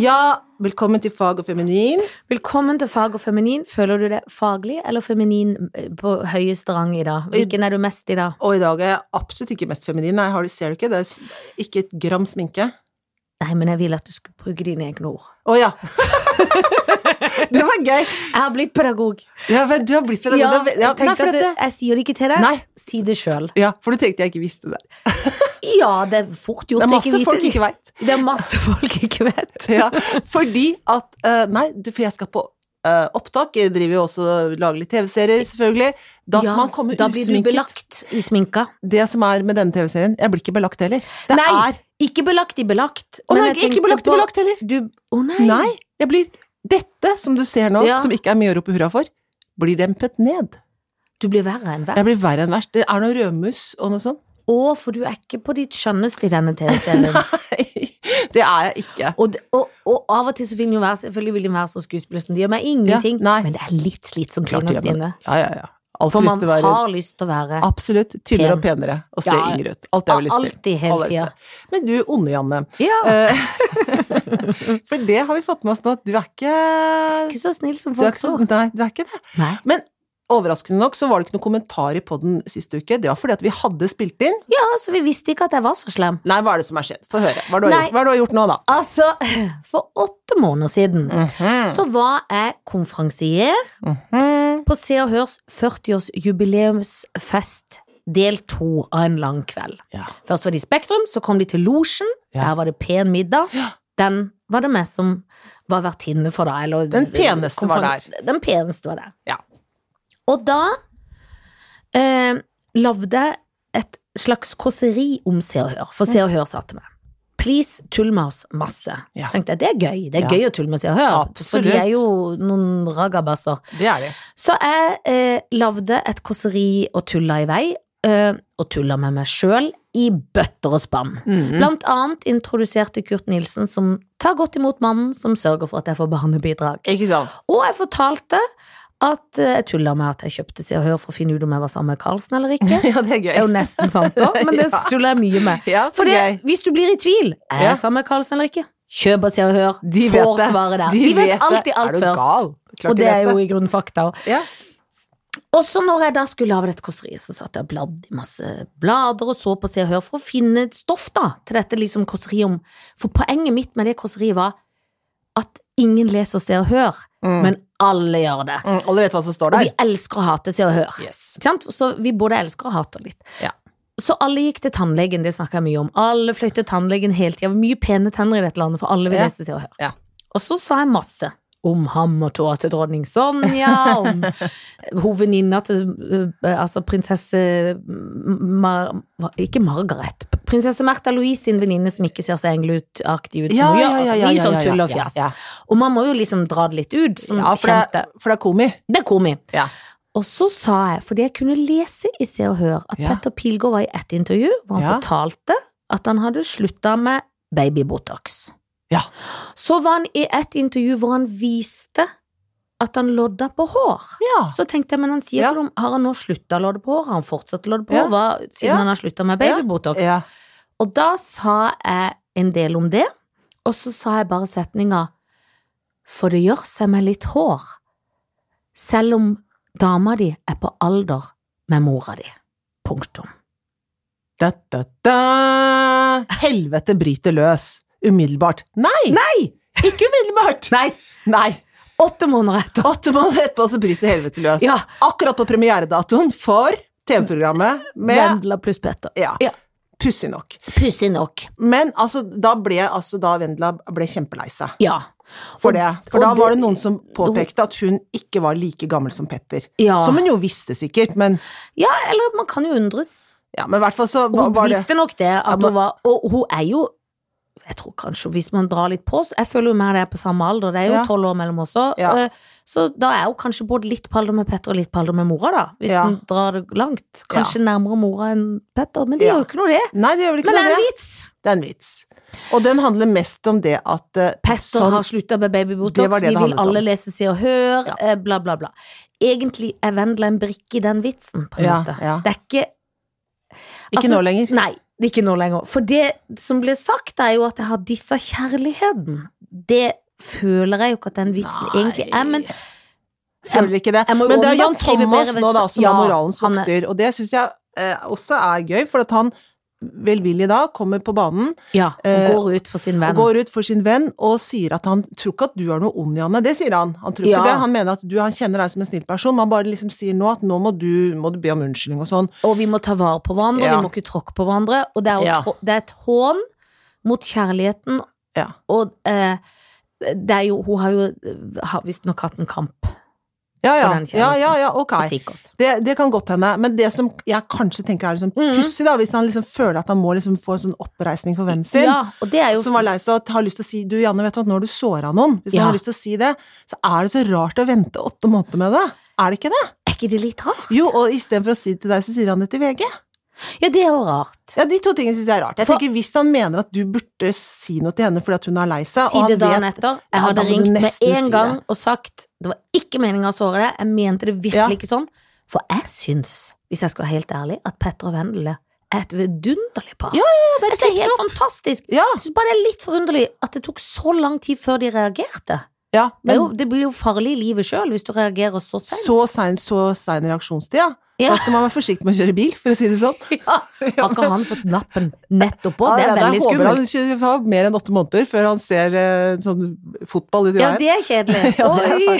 Ja, velkommen til Fag og feminin. Velkommen til Fag og feminin. Føler du det faglig eller feminin eh, på høyeste rang i dag? Hvilken er du mest i dag? Og i dag er jeg absolutt ikke mest feminin. Nei, har du, ser du ikke? Det er s- ikke et gram sminke. Nei, men jeg vil at du skal bruke dine egne ord. Å ja! det var gøy. Jeg har blitt pedagog. Ja, men du har blitt pedagog. Ja, Det er ve- ja, tenk nei, for at du, dette- jeg sier det ikke til deg. Nei. Si det sjøl. ja, for du tenkte jeg ikke visste det. Ja, det er fort gjort. Det er å masse vite- folk ikke veit. Det er masse folk ikke vet. Ja, fordi at eh, Nei, du, for jeg skal på eh, opptak. Jeg driver jo også og lager litt TV-serier, selvfølgelig. Da skal Ja, man komme da blir du usminket. belagt i sminka. Det som er med denne TV-serien, jeg blir ikke belagt heller. Det Nei, er Ikke belagt i belagt. Å men nei, jeg ikke tenkte belagt i på- belagt heller. Du, å nei. Nei, jeg blir Dette som du ser nå, Ja. som ikke er mye å rope hurra for, blir dempet ned. Du blir verre enn Jeg verre. blir verre enn verst. Det er noe rødmus og noe sånt. Å, for du er ikke på ditt skjønneste i denne TV-serien. Nei, det er jeg ikke. Og, d- og, og av og til så vil den jo være Selvfølgelig vil den være så skuespiller som det gjør meg ingenting, Ja, nei. men det er litt slitsomt Klart det gjør meg innerst inne. Ja, ja, ja. For Alltid lyst man til å være har lyst til å være Absolutt. Tynnere og penere og se Ja, ja. yngre ut. Alt det har jeg lyst til. alltid hele Alle tida. lyst til. Men du onde, Janne. Ja, Eh, For det har vi fått med oss nå, at du er ikke ikke så snill som du er folk ikke, så, tror. nei, du er ikke det. Nei. Overraskende nok så var det ikke noen kommentar i podden siste uke. Det var fordi at vi hadde spilt inn. Ja, så vi visste ikke at jeg var så slem. Nei, hva er det som har skjedd? Få høre. Hva er det du har Nei. gjort? Hva er det du har gjort nå, da? Altså, for åtte måneder siden Mm. så var jeg konferansier Mm-hmm. på Se og Hørs 40-årsjubileumsfest del to av en lang kveld. Ja. Først var de i Spektrum, så kom de til Losjen. Ja. Der var det pen middag. Den var det meg som var vertinne for, da. Eller, Den peneste var konferan- Den peneste var der. Ja. Og da eh, lagde jeg et slags kåseri om Se og Hør, for Mm. Se og Hør sa til meg. Please, tull med oss masse. Ja. Tenkte jeg, Det er gøy. Det er Ja. gøy å tulle med Se og Hør. For de Absolutt. er jo noen ragabasser. Det er det. Så jeg eh, lagde et kåseri og tulla i vei, eh, og tulla med meg sjøl i bøtter og spann. Mm. Blant annet introduserte Kurt Nilsen, som tar godt imot mannen som sørger for at jeg får barnebidrag. Ikke sant? Og jeg fortalte at eh, jeg tulla med at jeg kjøpte Se og Hør for å finne ut om jeg var sammen med Karlsen eller ikke. Ja, det er Det er jo gøy. nesten sant da, men det Ja. tuller jeg mye med. Ja, så For det, gøy. hvis du blir i tvil, er Ja. jeg sammen med Karlsen eller ikke, kjøp og Se og Hør, De vet får det. svaret der. De De vet vet det. alltid Er alt du først. gal? Klart Og de det er vet jo det. i grunnen fakta. også. Ja. Også når jeg da skulle lage dette kåseriet, så satt jeg og bladde i masse blader og så på Se og Hør for å finne et stoff da, til dette liksom kåseriet om For poenget mitt med det kåseriet var at ingen leser Se og Hør, Mm. men alle gjør det. Mm, alle vet hva som står Og der. vi elsker å hate Se og Hør. Yes. Ikke sant? Så vi både elsker og hater litt. Ja. Så alle gikk til tannlegen, det snakka jeg mye om. Alle fløy til tannlegen hele tida. Mye pene tenner i dette landet, for alle vil Ja. lese Se og Hør. Ja. Og så sa jeg masse. Om ham og tåa til dronning Sonja, om hovedvenninna til øh, altså prinsesse Mar Mar Ikke Margaret. Prinsesse Märtha Louise sin venninne som ikke ser så engleaktig ut. som hun gjør. Altså, mye sånn tull og fjas. ja. Og man må jo liksom dra det litt ut, som Ja, for det, kjente. er- for det er komi. Det er komi. Ja. Og så sa jeg, fordi jeg kunne lese i Se og Hør, at Ja. Petter Pilgaard var i ett intervju hvor han Ja. fortalte at han hadde slutta med babybotox. Ja. Så var han i et intervju hvor han viste at han lodda på hår. Ja. Så tenkte jeg, men han sier Ja. ikke noe om har han nå slutta å lodde på hår? Har han fortsatt å lodde på Ja. hår? Hva- Siden Ja. han har slutta med babybotox? ja. Og da sa jeg en del om det, og så sa jeg bare setninga For det gjør seg med litt hår, selv om dama di er på alder med mora di. Punktum. Da, da, da. Helvete bryter løs. Umiddelbart. Nei! Nei! Ikke umiddelbart! Nei! Nei. Åtte måneder etter. Åtte måneder etterpå så bryter helvete løs. Ja. Akkurat på premieredatoen for TV-programmet med Vendela pluss Petter. Ja. Ja. Pussig nok. Pussig nok. Men altså, da ble altså, da Vendela ble kjempelei seg Ja. for Og- det. For og da var det- det noen som påpekte at hun ikke var like gammel som Pepper. Ja. Som hun jo visste sikkert, men ja, eller man kan jo undres. ja, men i hvert fall så Og var, Hun var det visste nok det, at men- hun var Og hun er jo Jeg tror kanskje, hvis man drar litt på så Jeg føler jo mer det er på samme alder, det er jo Ja. tolv år mellom oss også. Ja. Eh, Så da er hun kanskje både litt på alder med Petter og litt på alder med mora, da. Hvis Ja. hun drar det langt. Kanskje nærmere mora enn Petter, men det Ja. gjør jo ikke noe, det. Nei, det gjør vel ikke Men noe, det er en det. vits! Det er en vits. Og den handler mest om det at eh, Petter sånn- har slutta med Det var babybotox, det vi det vil handlet om. alle lese Se og Hør, Ja. eh, bla, bla, bla. Egentlig er Vendela en brikke i den vitsen, på en Ja, måte. ja. Det er ikke Ikke altså, nå lenger. Nei. det er ikke nå lenger. For det som ble sagt, er jo at jeg har dissa kjærligheten. Det føler jeg jo ikke at den vitsen egentlig er, men Føler ikke det. jeg må jo Men det er Jan omvendt skrive Thomas brevet, nå, da, så- som ja, er moralens han er- vokter, og det syns jeg eh, også er gøy, for at han velvillig da kommer på banen ja, Eh, hun går ut for sin venn. og går ut for sin venn og sier at han tror ikke at du er noe ond, Janne. Det sier han. Han tror Ja. ikke det. Han mener at du, han kjenner deg som en snill person, men han bare liksom sier nå at nå må du, må du be om unnskyldning og sånn. Og vi må ta vare på hverandre, Ja. vi må ikke tråkke på hverandre. Og det er, jo Ja. trå- det er et hån mot kjærligheten. Ja. Og eh, det er jo, hun har jo eh, har visstnok hatt en kamp, Ja, ja. For den kjærligheten. Ja, ja, ja, ok. sikkert. Det, det kan godt hende. Men det som jeg kanskje tenker er liksom Mhm. pussig, da, hvis han liksom føler at han må liksom få en sånn oppreisning for vennen sin, Ja, og det er jo som var lei seg og har lyst til å si Du, Janne, vet du hva, nå har du såra noen. Hvis Ja. han har lyst til å si det, så er det så rart å vente åtte måneder med det. Er det ikke det? Er ikke det litt rart? Jo, og istedenfor å si det til deg, så sier han det til VG. Ja, det er jo rart. Ja, De to tingene syns jeg er rart. Jeg For- tenker Hvis han mener at du burde si noe til henne fordi at hun er lei seg Si og han det dagen vet- etter. Ja, Jeg da må hadde du ringt med nesten en si gang og sagt det var ikke meninga å såre deg, jeg mente det virkelig Ja. ikke sånn. For jeg syns, hvis jeg skal være helt ærlig, at Petter og Vendel er et vidunderlig par. Ja, ja, det er det er klippet helt fantastisk. Ja, Jeg synes bare det er litt forunderlig at det tok så lang tid før de reagerte. ja, det, men er jo, det blir jo farlig i livet sjøl hvis du reagerer så seint. så sein så sein reaksjonstid, ja. Ja. Da skal man være forsiktig med å kjøre bil, for å si det sånn. Ja. Har ikke han fått lappen nettopp òg? Det Ja, jeg er håper veldig skummelt. han ikke har mer enn åtte måneder før han ser eh, sånn fotball ute i Ja, veien. det er kjedelig. Ja, det er Oi!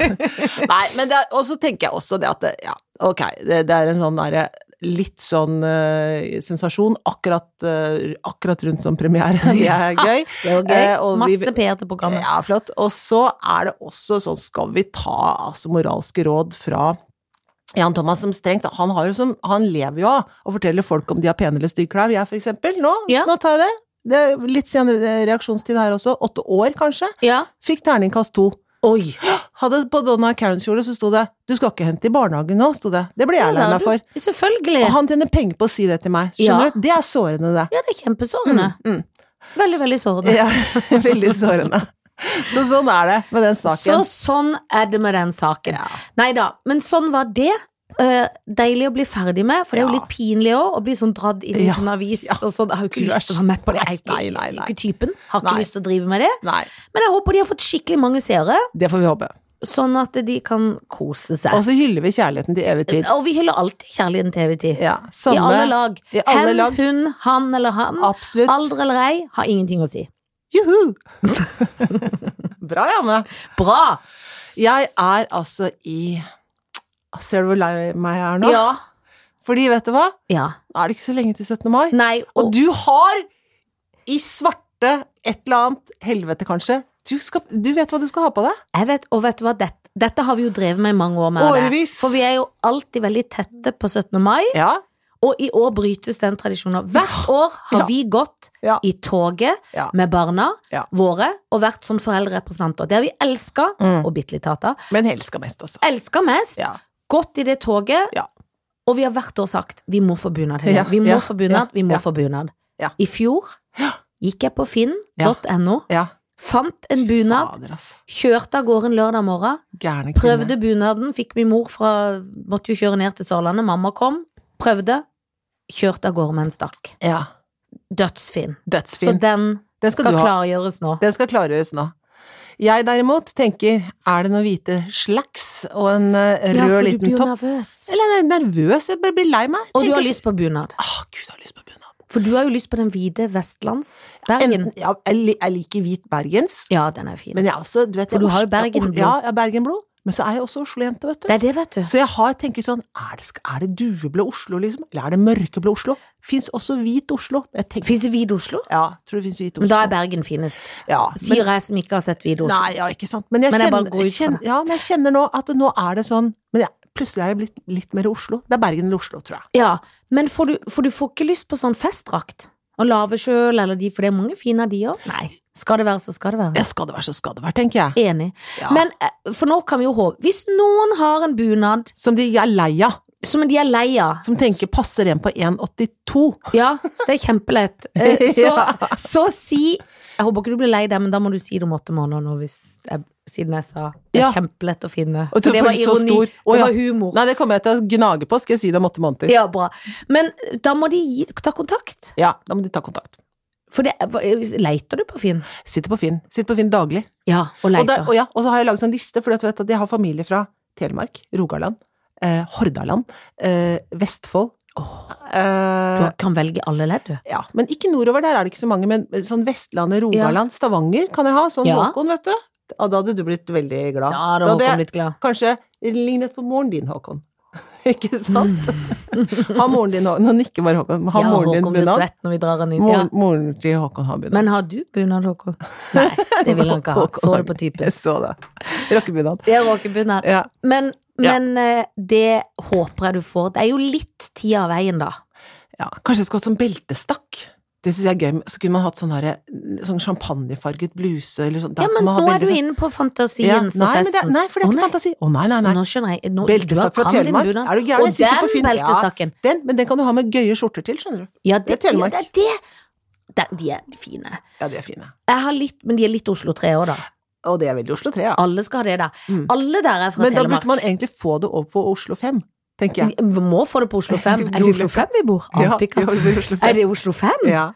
Nei, men det er, og så tenker jeg også det at det, ja, ok, det, det er en sånn derre litt sånn eh, sensasjon akkurat, eh, akkurat rundt som premiere. Det er gøy. Det er jo Eh, gøy. og vi- Masse PR til programmet. Ja, flott. Og så er det også sånn, skal vi ta altså, moralske råd fra Jan Thomas som strengt, han, har jo som, han lever jo av å fortelle folk om de har pene eller stygge klær. Jeg for eksempel, nå, Ja. nå tar jeg det. det er litt senere reaksjonstid her også, åtte år kanskje. Ja. Fikk terningkast to. Oi! Hadde på Donna Karen-kjole så sto det 'du skal ikke hente i barnehagen nå', sto det. Det ble jeg Ja, lei det er meg du. for. Selvfølgelig. Og han tjener penger på å si det til meg. Skjønner Ja. du? Det er sårende, det. Ja, det er kjempesårende. Mm, Veldig, veldig mm. sårende. Ja, veldig sårende. Så sånn er det med den Så saken. sånn er det med den saken. ja. Nei da, men sånn var det. Eh, deilig å bli ferdig med, for det er jo Ja. litt pinlig òg å bli sånn dradd inn i Ja, sånn avis. ja. Og sånn. Jeg har jo ikke Du er lyst til å være med på det. Jeg er ikke, nei, nei, nei. ikke typen. Har ikke Nei. lyst til å drive med det. Nei, Men jeg håper de har fått skikkelig mange seere, det får vi håpe. sånn at de kan kose seg. Og så hyller vi kjærligheten til evig tid. Og vi hyller alltid kjærligheten til evig tid. Ja, I alle samme lag. I alle Hen, lag. hun, han eller han. Absolutt. Alder eller ei har ingenting å si. Juhu! Bra, Janne. Bra! Jeg er altså i Ser du hvor lei meg jeg er nå? Ja. Fordi, vet du hva? ja. Nå er det ikke så lenge til 17. mai. Nei, Og du har i svarte et eller annet helvete, kanskje. Du, skal, du vet hva du skal ha på deg? Jeg vet, og vet du hva, dette, dette har vi jo drevet med i mange år. med det. Årevis. For vi er jo alltid veldig tette på 17. mai, Ja. og i år brytes den tradisjonen. Hvert år har Ja. vi gått Ja. i toget Ja. med barna Ja. våre og vært sånn foreldrerepresentanter. Det har vi elska, Mm. og bitte litt hata. Men helska mest, altså. Elska mest, Ja. gått i det toget, Ja. og vi har hvert år sagt vi må få bunad. Helene. Ja, Vi må ja, få bunad, vi må ja. få bunad. Ja. I fjor gikk jeg på finn.no, ja. fant en bunad, Fader, altså. kjørte av gårde en lørdag morgen. Gærne kvinner. Prøvde bunaden, fikk min mor fra Måtte jo kjøre ned til Sørlandet, mamma kom. Prøvde. Kjørte av gårde med en stakk. Ja. Dødsfin. Så Dødsfin. den Den skal, skal du ha. klargjøres nå. Den skal klargjøres nå. Jeg derimot tenker, er det noen hvite slacks og en eh, rød liten topp? nervøs. Eller jeg er nervøs, jeg bare blir lei meg. Og du har Tenker- sånn, lyst på bunad. Åh, Gud, jeg har lyst på bunad. For du har jo lyst på den hvite Vestlands-Bergen. Enten- Ja, jeg li- jeg liker hvit bergens, Ja, den er fin. men jeg er også du vet, For jeg du er har jo Os- jeg er Os- Bergenblod. Ja, jeg har Bergenblod. Men så er jeg også Oslo-jente, vet du. Det er det, vet du. Så jeg har tenkt sånn, er det, sk- er det dueblå Oslo, liksom? Eller er det mørkeblå Oslo? Fins også hvit Oslo. Jeg tenker, Fins det hvit Oslo? ja, tror det fins hvit Oslo. Men da er Bergen finest. ja, men- Sier jeg som ikke har sett hvit Oslo. Nei, ja, ikke sant. Men jeg, Men jeg bare kjenner, går ut fra kjenner, ja, men jeg kjenner nå at nå er det sånn Men jeg, plutselig er jeg blitt litt mer Oslo. Det er Bergen eller Oslo, tror jeg. Ja, men får du, for du får ikke lyst på sånn festdrakt? Å lage sjøl, eller de, for det er mange fine av de òg. Nei. Skal det være, så skal det være. Ja, skal det være, så skal det være, tenker jeg. Enig. Ja. Men eh, for nå kan vi jo håpe Hvis noen har en bunad Som de er lei av. Som de er lei av. Som tenker passer en på 1,82. Ja, så det er kjempelett. Eh, Så, Ja. så si Jeg håper ikke du blir lei deg, men da må du si det om åtte måneder nå, hvis jeg, siden jeg sa det er Ja. kjempelett å finne. Og For det var føles så ironi. stor. Å, det ja. var humor. Nei, det kommer jeg til å gnage på, skal jeg si det om åtte måneder. Ja, bra. Men da må de gi, ta kontakt. Ja, da må de ta kontakt. For det, hva- leiter du på Finn? Sitter på Finn. Sitter på Finn daglig. Ja, og Og, der, leiter. og, ja, og så har jeg laget sånn liste, for du vet at jeg har familie fra Telemark, Rogaland, eh, Hordaland, eh, Vestfold. Åh, Eh, du kan velge alle ledd, du. ja, men ikke nordover, der er det ikke så mange, men sånn Vestlandet, Rogaland, Stavanger kan jeg ha, sånn Ja. Håkon, vet du. Ja, da hadde du blitt veldig glad. Ja, Da da må hadde du jeg litt glad. kanskje lignet på moren din, Håkon. ikke sant? Har moren din Håkon, nå nikker bare Håkon, har Ja, moren din Håkon blir bunad? svett når vi drar han inn. Ja. Moren, moren til Håkon har bunad. Men har du bunad, Håkon? Nei, det vil han ikke ha. Håkon Så har- det på typen. Jeg så det. Rockebunad. Det var ikke bunad. Ja. Men, Ja. men eh, det håper jeg du får. Det er jo litt tid av veien, da. Ja, kanskje jeg skulle hatt sånn beltestakk. Det syns jeg er gøy. Så kunne man hatt sånn, herre- sånn champagnefarget bluse eller sånn. Da Ja, kan men man ha nå er veldig du sånn- inne på Ja, fantasiens og nei, men det, festens. nei, for det er Å, ikke fantasi. Å nei, nei, nei. Nå skjønner jeg. Nå, Beltestakk du fra kan din Telemark. bunad. Er du gæren? Jeg Og sitter på den Finn. Ja. beltestakken. Den, men den kan du ha med gøye skjorter til, skjønner du. Ja, det, Det er ja, Telemark. det er det. Den- De er fine. Ja, de er fine. Jeg har litt, men de er litt Oslo 3 år, da. Og det er veldig Oslo 3, ja. Alle skal ha det der. Mm. Alle der er fra Men da Telemark. burde man egentlig få det over på Oslo 5, tenker jeg. Vi må få det på Oslo 5. Er det Oslo Oslo 5 vi bor? Ja, Ante ikke ja, at- det er Oslo 5. Er det Oslo 5? Ja,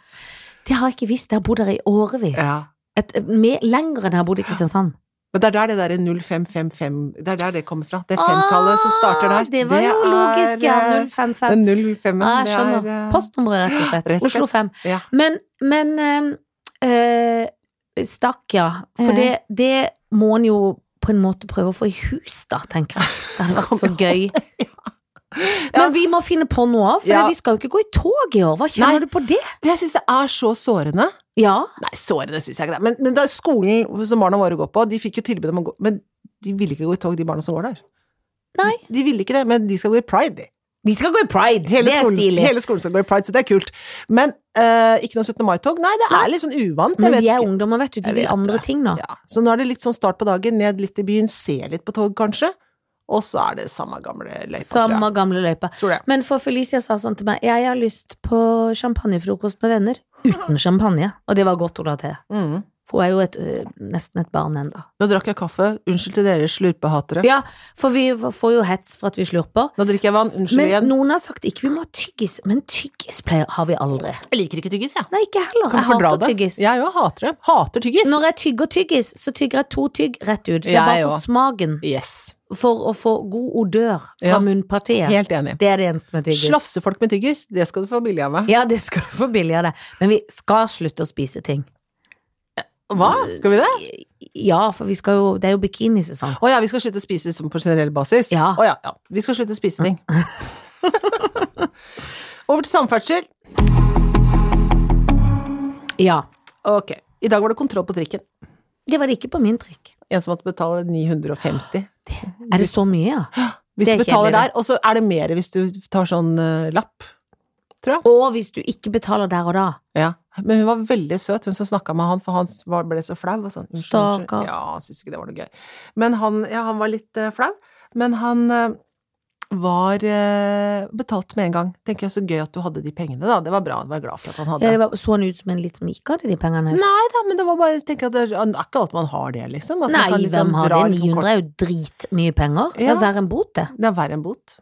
Det har jeg ikke visst. Jeg har bodd der i årevis. ja. Et, mer, lenger enn jeg har bodd i Kristiansand. Men det er der det derre 0555 Det er der det kommer fra. Det er femtallet som starter Ah, der. Det var jo er, logisk, ja. eh, 055. Den 05-en, Ah, jeg det skjønner. er eh, Postnummeret, rett og slett. rett og Oslo slett. 5. Ja. Men, men eh, eh, Stakk, ja. For Mhm. det, det må en jo på en måte prøve å få i hus, da, tenker jeg. Det hadde vært så gøy. Men vi må finne på noe, for Ja. vi skal jo ikke gå i tog i år. Hva kjenner Nei. du på det? Jeg syns det er så sårende. Ja. Nei, sårende syns jeg ikke det. Men, men da skolen som barna våre går på, de fikk jo tilbud om å gå Men de ville ikke gå i tog, de barna som går der. Nei. De, de ville ikke det, men de skal gå i pride, de. De skal gå i pride. Hele det er skolen, stilig. hele skolen skal gå i pride, så det er kult. Men eh, ikke noe 17. mai-tog. Nei, det er litt sånn uvant. jeg Men vet de er ikke. ungdommer, vet du. De Jeg vil vet andre det. ting nå. Ja. Så nå er det litt sånn start på dagen, ned litt i byen, se litt på tog, kanskje. Og så er det samme gamle løypa, tror jeg. Samme gamle løypa. Tror jeg. Men for Felicia sa sånn til meg Jeg har lyst på champagnefrokost med venner. Uten champagne. Og det var godt hun la til. Mm. For hun er jo et, øh, nesten et barn ennå. Nå drakk jeg kaffe. Unnskyld til dere slurpehatere. Ja, for vi får jo hets for at vi slurper. Nå drikker jeg vann. Unnskyld Men igjen. noen har sagt ikke vi må ha tyggis, men tyggis pleier, har vi aldri. Jeg liker ikke tyggis, jeg. Nei, ikke heller. Kan Jeg jeg fordra hater det? tyggis. Jeg òg hater det. Hater tyggis. Når jeg tygger tyggis, så tygger jeg to tygg rett ut. Det er Jeg bare for også. smaken. Yes. For å få god odør fra Ja. munnpartiet. Helt enig. Det er det eneste med tyggis. Slafse folk med tyggis, det skal du få billig av meg. Ja, det skal du få billigere. Men vi skal slutte å spise ting. Hva? Skal vi det? Ja, for vi skal jo Det er jo bikinisesong. Å ja, vi skal slutte å spise som på generell basis? Ja. Å ja, ja. Vi skal slutte å spise ting. Over til samferdsel. Ja. Ok. I dag var det kontroll på trikken. Det var det ikke på min trikk. En som måtte betale 950. Er det så mye, ja? Hvis Det er du betaler kjedelig, der, og så er det mer hvis du tar sånn eh, lapp. Og hvis du ikke betaler der og da. Ja. Men hun var veldig søt, hun som snakka med han, for han var- ble så flau. Og sånn, unnskyld, unnskyld. Stakkar. Ja, han syntes ikke det var noe gøy. Men han, ja, han var litt eh, flau. Men han eh, var eh, betalt med en gang. Tenker jeg, så gøy at du hadde de pengene, da. Det var bra, jeg var glad for at han hadde. Ja, det var, så han ut som en litt som ikke hadde de pengene? Nei da, men det var bare, jeg tenker at det er det er ikke alt man har det, liksom. At man Nei, kan liksom hvem har det? dra liksom 900 kort- er jo dritmye penger. Det Ja. er verre enn bot, det. Det er verre enn bot.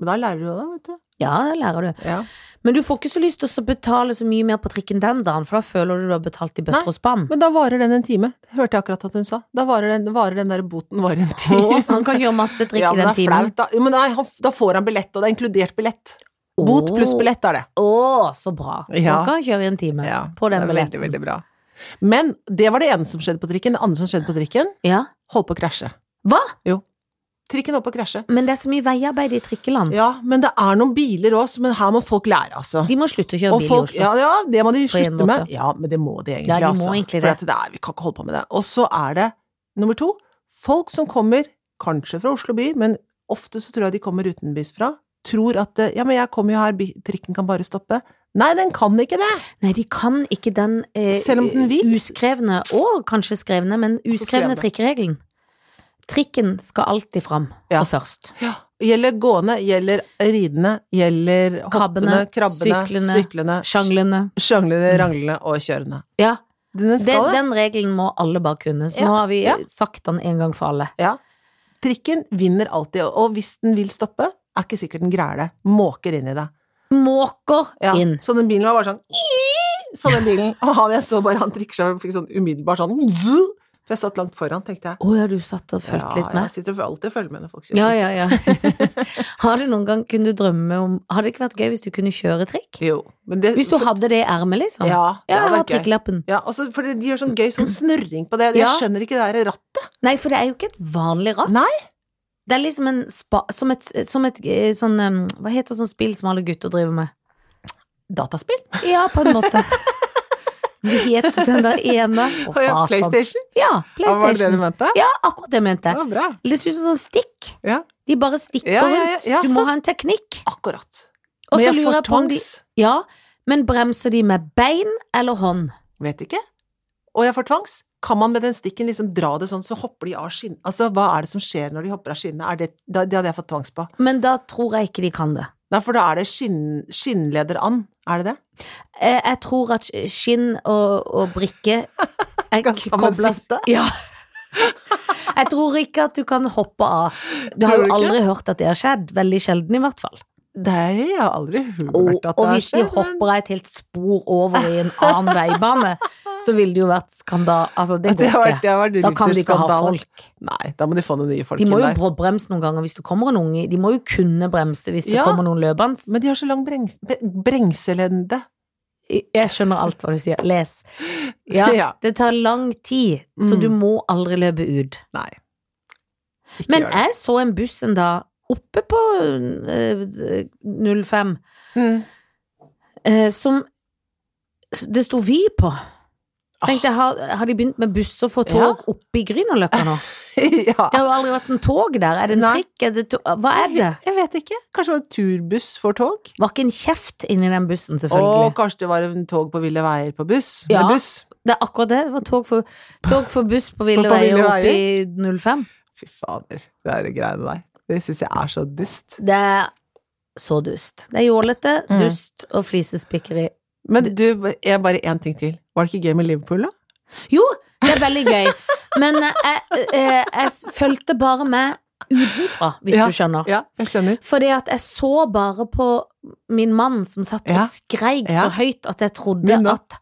Men da lærer du jo det, vet du. Ja, det lærer du. Ja. Men du får ikke så lyst til å betale så mye mer på trikken den dagen, for da føler du du har betalt i Nei. bøtter og spann. Men da varer den en time, hørte jeg akkurat at hun sa. Da varer den, varer den der boten varer en Å, time. Så han kan ikke gjøre masse trikk ja, i men den det er timen. flaut, da. Jo, men nei, han, da får han billett, og det er inkludert billett. Bot Å. pluss billett er det. Å, så bra. Så Ja. han kan kjøre i en time Ja, på den det er veldig, billetten. veldig bra. Men det var det ene som skjedde på trikken. Det andre som skjedde på trikken, Ja. holdt på å krasje. Hva? Trikken holdt på å krasje. Men det er så mye veiarbeid i trikkeland. Ja, men det er noen biler òg, men her må folk lære, altså. De må slutte å kjøre Og bil folk, i Oslo. ja, ja, det må de På en slutte med. måte. Ja, men det må de egentlig, Ja, de må altså. egentlig For det. at det er, vi kan ikke holde på med det. Og så er det nummer to, folk som kommer, kanskje fra Oslo by, men ofte så tror jeg de kommer utenbys fra, tror at eh, ja, men jeg kommer jo her, bi- trikken kan bare stoppe. Nei, den kan ikke det! Nei, de kan ikke den eh, Selv om den vil. uskrevne, og kanskje skrevne, men skrevne. uskrevne trikkeregelen. Trikken skal alltid fram, Ja. og først. Gjelder gående, gjelder ridende, gjelder hoppende, Krabbene, krabbene, syklene, syklene, Sjanglene. sjanglene, ranglene og kjørende. Ja. Den Det, skal det. den regelen må alle bare kunne, så Ja, nå har vi ja. sagt den en gang for alle. Ja. Trikken vinner alltid, og hvis den vil stoppe, er ikke sikkert den greier det. Måker inn i deg. Måker Ja. inn. Så den bilen var bare sånn Sånn den bilen. Og han jeg så bare, han trikkesjåføren fikk sånn umiddelbart sånn «Zzz!» For jeg satt langt foran, tenkte jeg. Å ja, du satt og fulgte litt Ja, med? jeg sitter og alltid og følger med når folk kjører. Ja, ja, ja. Har du noen gang kunnet drømme om Hadde det ikke vært gøy hvis du kunne kjøre trikk? Jo, men det Hvis du hadde det i ermet, liksom? Ja, det ja jeg hadde har vært gøy. trikkelappen. Ja, og så, for de gjør sånn gøy sånn snurring på det. Jeg Ja. skjønner ikke det der rattet. Nei, for det er jo ikke et vanlig ratt. Nei. Det er liksom en spa... Som et, som et eh, sånn em, Hva heter sånn spill som alle gutter driver med? Dataspill. Ja, på en måte. Det het den der ene Å, Å ja, faen. PlayStation. Ja, Ja, var det det du PlayStation. mente? Ja, akkurat det jeg mente. Det var bra. Det ser ut som sånn stikk. Ja. De bare stikker Ja, ja, ja, rundt. ja, Du må så- ha en teknikk. Akkurat. Og Men så jeg lurer får jeg på om de tvangs. Ja, men bremser de med bein eller hånd? Vet ikke. Og jeg får tvangs. Kan man med den stikken liksom dra det sånn, så hopper de av skinnet? Altså, hva er det som skjer når de hopper av skinnet? Er det, da, det hadde jeg fått tvangs på. Men da tror jeg ikke de kan det. Nei, for da er det skinn, skinnlederand. Er det det? Eh, Jeg tror at skinn og, og brikke er Skal sammen koblet- sitte? Ja. Jeg tror ikke at du kan hoppe av. Du har Tror jo du ikke? aldri hørt at det har skjedd. Veldig sjelden, i hvert fall. Det har jeg aldri hørt Og, at og det har hvis de skjedd, men- hopper av et helt spor over i en annen veibane, så ville det jo vært skandal... Altså, det det går har ikke. vært, det har vært Da kan de ikke ha rytterskandale. folk. Nei, da må de få noen nye folk De inn må jo der. bråbremse noen ganger hvis det kommer en unge. De må jo kunne bremse hvis det Ja. kommer noen løpende. Men de har så lang brengs bre- brengselende. Jeg skjønner alt hva du sier. Les. Ja, Ja. det tar lang tid, så Mm. du må aldri løpe ut. Nei. Ikke Men gjør det. jeg så en buss en dag oppe på eh, 05 Mm. eh, som s- det sto Vy på. Tenkte jeg, har, har de begynt med busser for Ah. Ja. tog oppe i Grünerløkka nå? ja. Det har jo aldri vært en tog der. Er det en Nei. trikk? Er det to Hva er det? Jeg vet ikke. Kanskje det var en turbuss for tog? Var ikke en kjeft inni den bussen, selvfølgelig. Og kanskje det var en tog på ville veier på buss? Ja. Med buss? Det er akkurat det. Det var tog for, tog for buss på ville På- på veier ville oppe i 05. Fy fader, det er det greiene der. Det syns jeg er så dust. Det er så dust. Det er jålete, Mm. dust og flisespikkeri. Men du, jeg bare én ting til. Var det ikke gøy med Liverpool, da? Jo, det er veldig gøy, men eh, jeg, eh, jeg fulgte bare med utenfra, hvis Ja, du skjønner. Ja, jeg skjønner. Fordi at jeg så bare på min mann som satt Ja. og skreik Ja. så høyt at jeg trodde Min da. at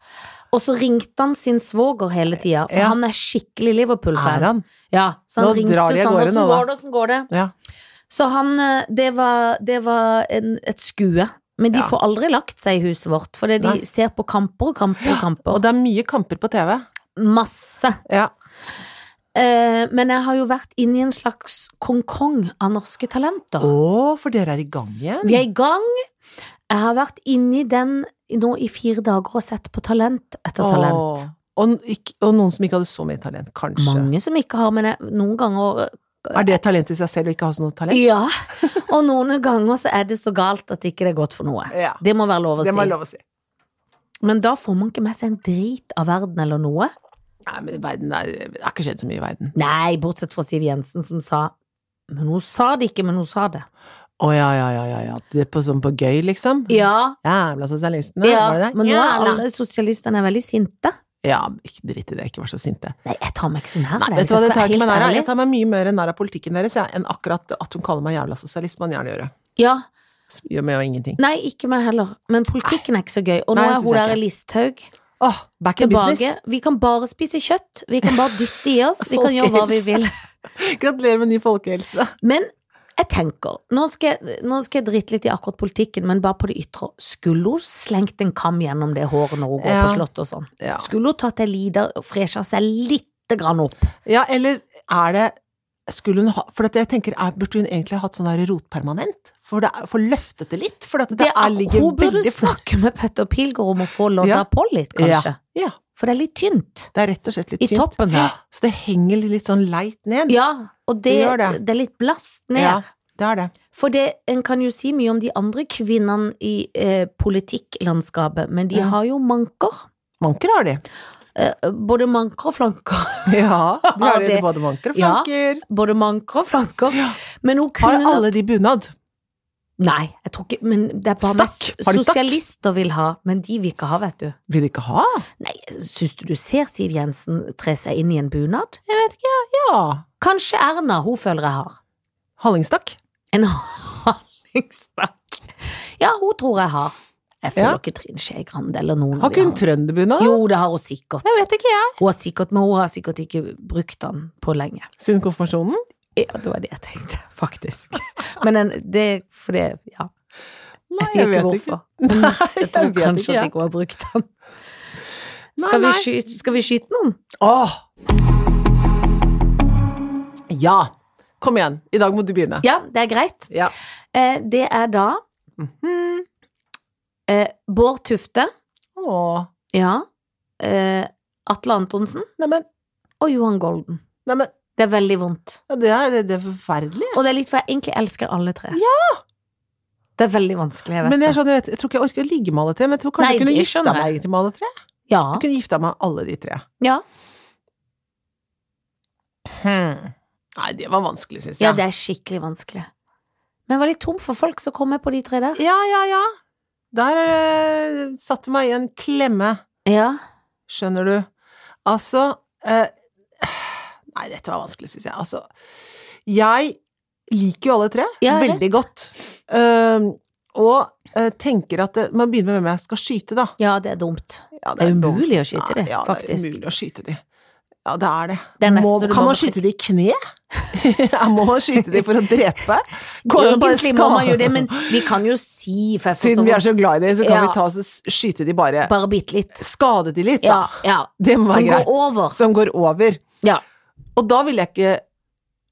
Og så ringte han sin svoger hele tida, for Ja. han er skikkelig Liverpool-fan. Er han? Ja, så Nå han ringte drar de av sånn, gårde nå, åssen da." går det, åssen går det? Ja. Så han, eh, det var, det var en, et skue. Men de Ja. får aldri lagt seg i huset vårt, fordi de Nei. ser på kamper og kamper og kamper. Og det er mye kamper på TV. Masse. Ja. Eh, men jeg har jo vært inne i en slags Kong-Kong av norske talenter. Å, for dere er i gang igjen? Vi er i gang. Jeg har vært inni den nå i fire dager og sett på talent etter talent. Og, ikk- og noen som ikke hadde så mye talent, kanskje. Mange som ikke har, men jeg, noen ganger Er det talent i seg selv å ikke ha så noe talent? Ja. Og noen ganger så er det så galt at ikke det er godt for noe. Ja. Det må være lov å Det si. må jeg lov å si. Men da får man ikke med seg en drit av verden eller noe. Nei, men verden er, det har ikke skjedd så mye i verden. Nei, bortsett fra Siv Jensen som sa Men hun sa det ikke, men hun sa det. Å ja, ja, ja, ja, ja. Det er på, sånn på gøy, liksom? Ja, Jævla sosialistene, ja var det det? men nå er Jævla. alle sosialistene veldig sinte. Ja, ikke dritt i det, ikke vær så sinte. Nei, jeg tar meg ikke så nær Nei, av det. vet du hva, hvis det jeg tar skal ikke meg være nær av. helt Jeg tar meg mye mer nær av politikken deres jeg, enn akkurat at hun kaller meg jævla sosialist, må hun gjerne gjøre. ærlig. Ja. Så Gjør meg jo ingenting. Nei, ikke meg heller. Men politikken er ikke så gøy. Og Nei, nå jeg er synes hun jeg der ikke. Listhaug Åh, back in tilbake. business! Vi kan bare spise kjøtt. Vi kan bare dytte i oss. Vi kan gjøre hva vi vil. Gratulerer med ny folkehelse! Men jeg tenker, nå skal jeg, nå skal jeg drite litt i akkurat politikken, men bare på det ytre. Skulle hun slengt en kam gjennom det håret når hun går Ja. på slottet og sånn? Ja. Skulle hun tatt ei lita og fresha seg lite grann opp? ja, eller er det skulle hun ha, for at jeg tenker, er, Burde hun egentlig ha hatt sånn der rotpermanent? For, det, er- for løftet det litt? For at det, Det er, er- ligger hun burde veldig flatt. snakke med Petter Pilgaard om å få lodda Ja. på litt, kanskje. Ja, For det er litt tynt. det er rett og slett litt I tynt. toppen her. Ja, Så det henger litt sånn leit ned. Ja, og det, Det gjør det, det. er litt blast ned. Ja, det er det. For det, en kan jo si mye om de andre kvinnene i eh, politikklandskapet, men de Ja. har jo manker. Manker har de. Eh, både manker og flanker. Ja, de har Har det, de. både manker og Ja. flanker. Både manker og flanker. Men hun Har kunne alle de bunad? Nei, jeg tror ikke Men det er bare Stakk? Har de stakk? Sosialister vil ha, men de vil ikke ha, vet du. Vil de ikke ha? Nei, syns du du ser Siv Jensen tre seg inn i en bunad? Ja. Kanskje Erna, hun føler jeg har. Hallingstakk? En hallingstakk. Ja, hun tror jeg har. Jeg føler Ja. ikke Trine Skei Grande eller noen Har av de ikke hun andre. trønderbunad? Jo, det har hun sikkert. Jeg vet ikke, jeg. Hun har sikkert, men hun har sikkert ikke brukt den på lenge. Siden konfirmasjonen? Ja, det var det jeg tenkte, faktisk. Men en, det for det, ja. Nei, Jeg sier ikke hvorfor. Ikke. Nei, jeg, Jeg tror vet kanskje ikke, at jeg. ikke hun har brukt den. Nei, Skal vi, nei. skyte, skal vi skyte noen? Åh! Ja! Kom igjen, i dag må du begynne. Ja, det er greit. Ja. Eh, det er da Mhm. eh, Bård Tufte. Åh. Ja. Eh, Atle Antonsen Neimen, og Johan Golden. neimen, Det er veldig vondt. ja, det er, det er forferdelig. Og det er litt for jeg egentlig elsker alle tre. Det er veldig vanskelig, jeg vet Men jeg, det. skjønner, jeg, vet, jeg tror ikke jeg orker å ligge med alle tre, men jeg tror kanskje Nei, jeg kunne det gifta skjønner meg jeg. egentlig med alle tre. Ja. Jeg kunne gifta meg med alle de tre. Ja. Hmm. Nei, det var vanskelig, syns jeg. ja, det er skikkelig vanskelig. Men jeg var litt tom for folk, så kom jeg på de tre der. ja, ja, ja. Der eh, satte du meg i en klemme, Ja. skjønner du. Altså eh, Nei, dette var vanskelig, syns jeg. Altså, jeg liker jo alle tre Ja, jeg veldig godt. Um, og eh, tenker at det, Man begynner med hvem jeg skal skyte, da. ja, det er dumt. Ja, Det er dumt. umulig å skyte Nei, de, ja, det er faktisk. umulig å skyte de. Ja, det er det. Det er neste må, du kan bare man må skyte de i kne? ja, må man skyte de for å drepe? Går det an å bare Egentlig må man jo skade- det, men vi kan jo si for jeg får Siden vi er så så glad i dem, så kan Ja. vi ta oss og s- skyte de bare bare bitte litt. Skade de litt, Ja, da. ja. Det må Som være går greit. over. Som går over. Ja. Og da vil jeg ikke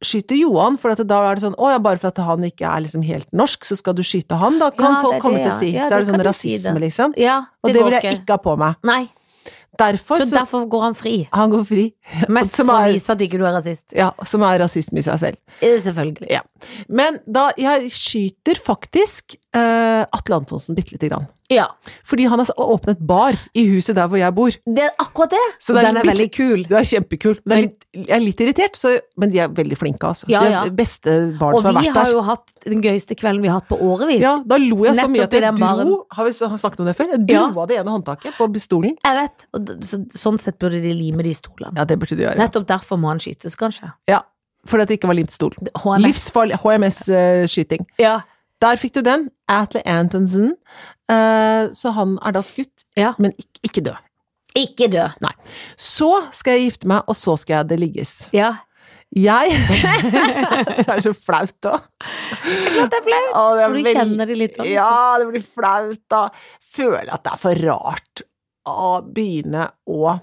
skyte Johan, for at da er det sånn Å ja, bare for at han ikke er liksom helt norsk, så skal du skyte han? Da kan Ja, det folk er komme til å det, ja. si. så Ja, er det det sånn kan du si rasisme, det. liksom. Ja, Og det, det, går vil jeg ikke. ikke ha på meg. Nei, Derfor så så, derfor går han fri. Han går fri. Mest Som for å er- vise at ikke du er rasist. Ja, som er rasisme i seg selv. Eh, Selvfølgelig. Men da Jeg skyter faktisk eh, Atle Antonsen bitte lite grann. Ja. Fordi han har s- åpnet bar i huset der hvor jeg bor. Det er akkurat det. Så det er Den er litt- veldig kul. Det er kjempekult. Det er litt, jeg er litt irritert, så, men de er veldig flinke, altså. Ja, De ja. er beste barn Og som har vi vært har der. jo hatt den gøyeste kvelden vi har hatt på årevis. Ja, da lo jeg så mye Nettopp at jeg i den dro baren. Har vi s- snakket om det før? Jeg dro Ja. av det ene håndtaket på stolen. Jeg vet. Og d- så, sånn sett burde de lime de stolene. Ja, det burde du gjøre. Nettopp derfor må han skytes, kanskje. Ja, Fordi at det ikke var limt stol. HMS. Livsfarlig HMS-skyting. Ja. Der fikk du den. Atle Antonsen. Eh, så han er da skutt, Ja. men ikke, ikke død. Ikke dø. Så skal jeg gifte meg, og så skal jeg det ligges. Ja. Jeg Det er så flaut òg. Klart det er flaut. Å, det er For du veld- kjenner de litt sånn. Ja, det blir flaut, da. Føler at det er for rart å begynne å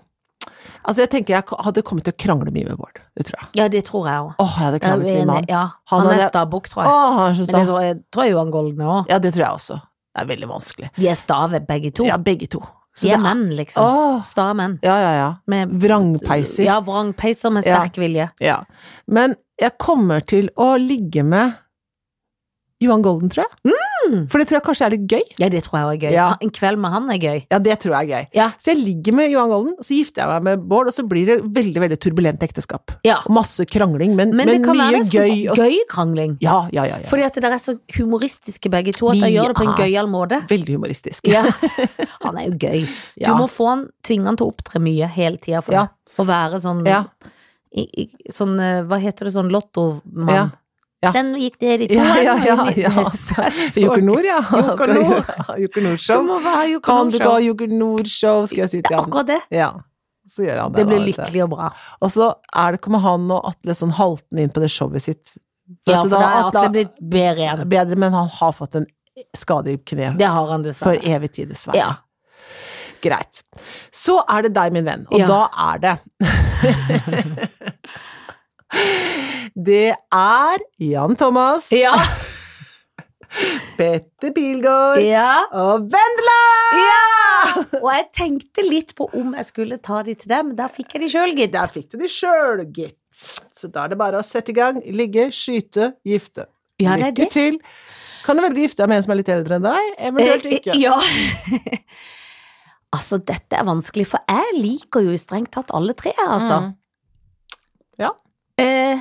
Altså, jeg tenker jeg hadde kommet til å krangle mye med Bård. Det tror jeg. Ja, det tror jeg òg. Åh, jeg hadde kranglet mye med han. Ja. Han Han er hadde- stabukk, tror jeg. Åh, han er så Men det sta. tror jeg, tror jeg Johan Golden òg. Ja, det tror jeg også. Det er veldig vanskelig. De er stave, begge to. Ja, begge to. Så De er det er- menn, liksom. Åh, Sta menn. ja, ja, ja. Med Vrangpeiser. Ja, vrangpeiser med Ja. sterk vilje. Ja. Men jeg kommer til å ligge med Johan Golden, tror jeg. Mm. For det tror jeg kanskje er litt gøy. Ja, det tror jeg også er gøy. Ja. En kveld med han er gøy. Ja, det tror jeg er gøy. Ja. Så jeg ligger med Johan Golden, og så gifter jeg meg med Bård, og så blir det veldig veldig turbulent ekteskap. Ja. Og Masse krangling, men, Men, men, det kan være mye en gøy. sånn Og... gøy krangling. Ja, ja, ja, ja. Fordi at dere er så humoristiske begge to, at Vi dere gjør det på en er- gøyal måte. Veldig humoristisk. Ja. Han er jo gøy. Du Ja. må få han, tvinge han til å opptre mye hele tida for Ja. deg. Og være sånn, Ja. i, i, sånn eh, Hva heter det, sånn lottomann? Ja. Ja. Den gikk der i Ja, ja, ja, toeren, og i- ja. Joker Nord, ja. Joker Skal vi- Nord. Ja, Joker Du Nord-show. må være Joker Kan du ikke ha Nord-show. Joker Nord-show, skal jeg si Det til er han. akkurat det. Ja. Så gjør han det. Det da, blir vet du. lykkelig og bra. Og så er det, kommer han og Atle sånn haltende inn på det showet sitt. Ja, at for da er Atle- Atle blitt bedre igjen. Bedre, men han har fått en skade i kneet. Det har han For dessverre. evig tid, dessverre. Ja. Greit. Så er det deg, min venn, og Ja. da er det Det er Jan Thomas, Ja, Petter Bilgaard ja. og Vendela! Ja! Og jeg tenkte litt på om jeg skulle ta de til dem, men der fikk jeg de sjøl, gitt. Der fikk du de sjøl, gitt. Så da er det bare å sette i gang. Ligge, skyte, gifte. Ja, det er Lykke det. til. Kan du velge å gifte deg med en som er litt eldre enn deg? Eventuelt Eh, ikke. eh, Ja. altså, dette er vanskelig, for jeg altså. liker jo strengt tatt alle tre, altså. Mm. Ja. Eh,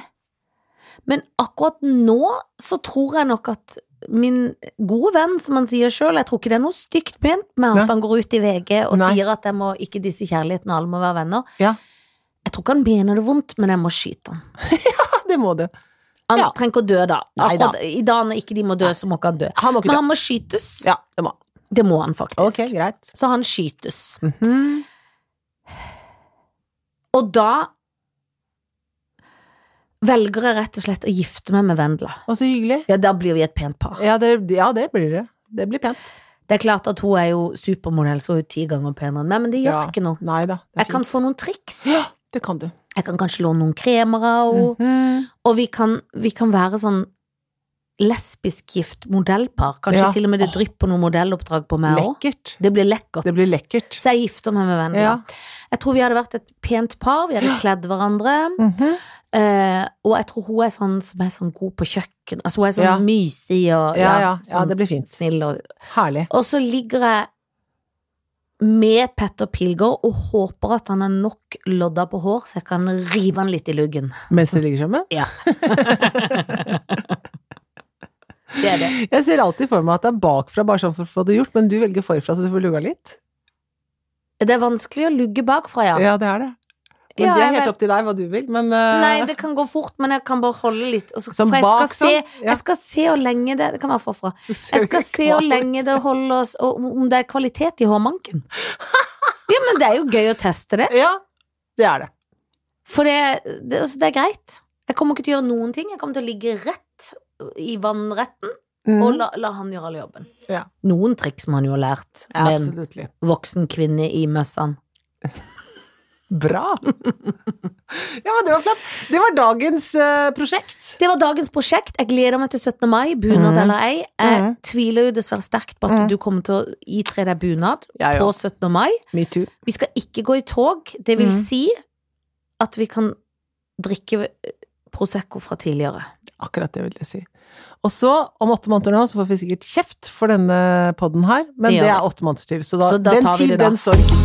Men akkurat nå så tror jeg nok at min gode venn, som han sier sjøl, jeg tror ikke det er noe stygt ment med Nei. at han går ut i VG og Nei. sier at jeg må ikke disse kjærligheten og alle må være venner. Ja. Jeg tror ikke han mener det vondt, men jeg må skyte han. Ah, Det må du. Han Ja. trenger ikke å dø da. Neida. Akkurat I dag når ikke de må dø, så må ikke han dø. Han må ikke Men ta han må skytes. Ja, det må han. Det må han faktisk. Ok, greit. Så han skytes. Mhm. Og da velger jeg rett og slett å gifte meg med Vendela. Og så hyggelig. Ja, da blir vi et pent par. Ja det, ja, det blir det. Det blir pent. Det er klart at hun er jo supermodell, så hun er jo ti ganger penere enn meg, men det gjør Ja. ikke noe. Nei da. det er Jeg kan fint. få noen triks. Ja, det kan du. Jeg kan kanskje låne noen kremer av henne. Mhm. Og vi kan, vi kan være sånn lesbisk gift modellpar. Kanskje Ja. til og med det Åh. drypper noen modelloppdrag på meg òg. Lekkert. Det blir lekkert. Det blir lekkert. Så jeg gifter meg med Vendela. Ja. Jeg tror vi hadde vært et pent par, vi hadde kledd hverandre. Mhm. Eh, og jeg tror hun er sånn som er sånn god på kjøkken. Altså hun er sånn Ja. mysig og Ja, ja. Ja, sånn det blir fint. snill. Og, Herlig. og så ligger jeg med Petter Pilgaard og håper at han har nok lodder på hår, så jeg kan rive han litt i luggen. Mens dere ligger sammen? Det er det. Jeg ser alltid for meg at det er bakfra, bare sånn for å få det gjort, men du velger forfra, så du får lugga litt. Det er vanskelig å lugge bakfra, ja. Ja, det er det. Men Ja, det jeg er helt vet. opp til deg hva du vil, men eh, Nei, det kan gå fort, men jeg kan bare holde litt. Og så, Sånn for jeg bak, skal, se, sånn? Ja. jeg skal se hvor lenge det Det kan være forfra. Jeg skal se hvor lenge det holder oss, og om- om det er kvalitet i hårmanken. Ja, men det er jo gøy å teste det. Ja, det er det. For det, det, altså, det er greit. Jeg kommer ikke til å gjøre noen ting. Jeg kommer til å ligge rett i vannretten Mm. og la, la han gjøre all jobben. Ja. Noen triks må han jo ha lært Ja, med en Absolutt. voksen kvinne i møssene. Bra! ja, men det var flott. Det var dagens eh, prosjekt. Det var dagens prosjekt. Jeg gleder meg til 17. mai, bunad Mhm. eller ei. Jeg Mhm. tviler jo dessverre sterkt på at Mhm. du kommer til å itre deg bunad Ja, ja. på 17. mai. Metoo. Vi skal ikke gå i tog. Det Mhm. vil si at vi kan drikke Prosecco fra tidligere. Akkurat det vil jeg si. Og så, om åtte måneder nå, så får vi sikkert kjeft for denne podden her, men Det gjør det det. er åtte måneder til, så da, Så da den tar vi tid, det da. den sorg.